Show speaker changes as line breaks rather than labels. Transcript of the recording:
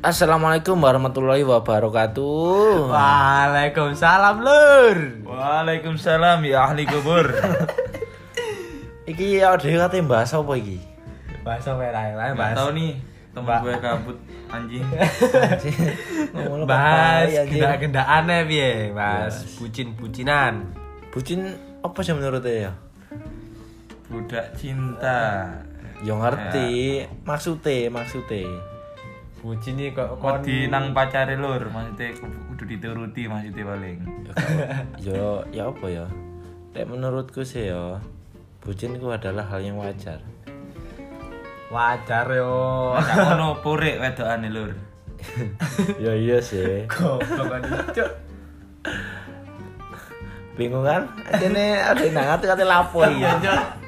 Assalamualaikum warahmatullahi wabarakatuh.
Waalaikumsalam lur.
Waalaikumsalam ya ahli kubur.
Iki audio kate bahas apa iki?
Bahasa merah lah,
Gak
bahas.
tahu nih teman
Mbak.
gue kabut anjing.
Ngomongnya
Oh,
apa,
Bahas
ya, anjing?
gendak-gendakan ya piye, bahas bucin-bucinan.
Bucin apa sih menurut ya?
Budak cinta.
Ya ngerti maksudnya, maksudnya.
Bucin iki kok kon
Wedi nang pacare lur, maksudnya kudu dituruti maksudnya paling.
Ya, kalau- Ya ya apa ya? Nek menurutku sih ya, bucin itu adalah hal yang wajar.
wajar yo.
Masa ngono purik wedokane lur.
ya iya sih.
Goblok kan cuk.
Bingung kan? Ini ada yang nangat kate lapo ya.
Iya cuk.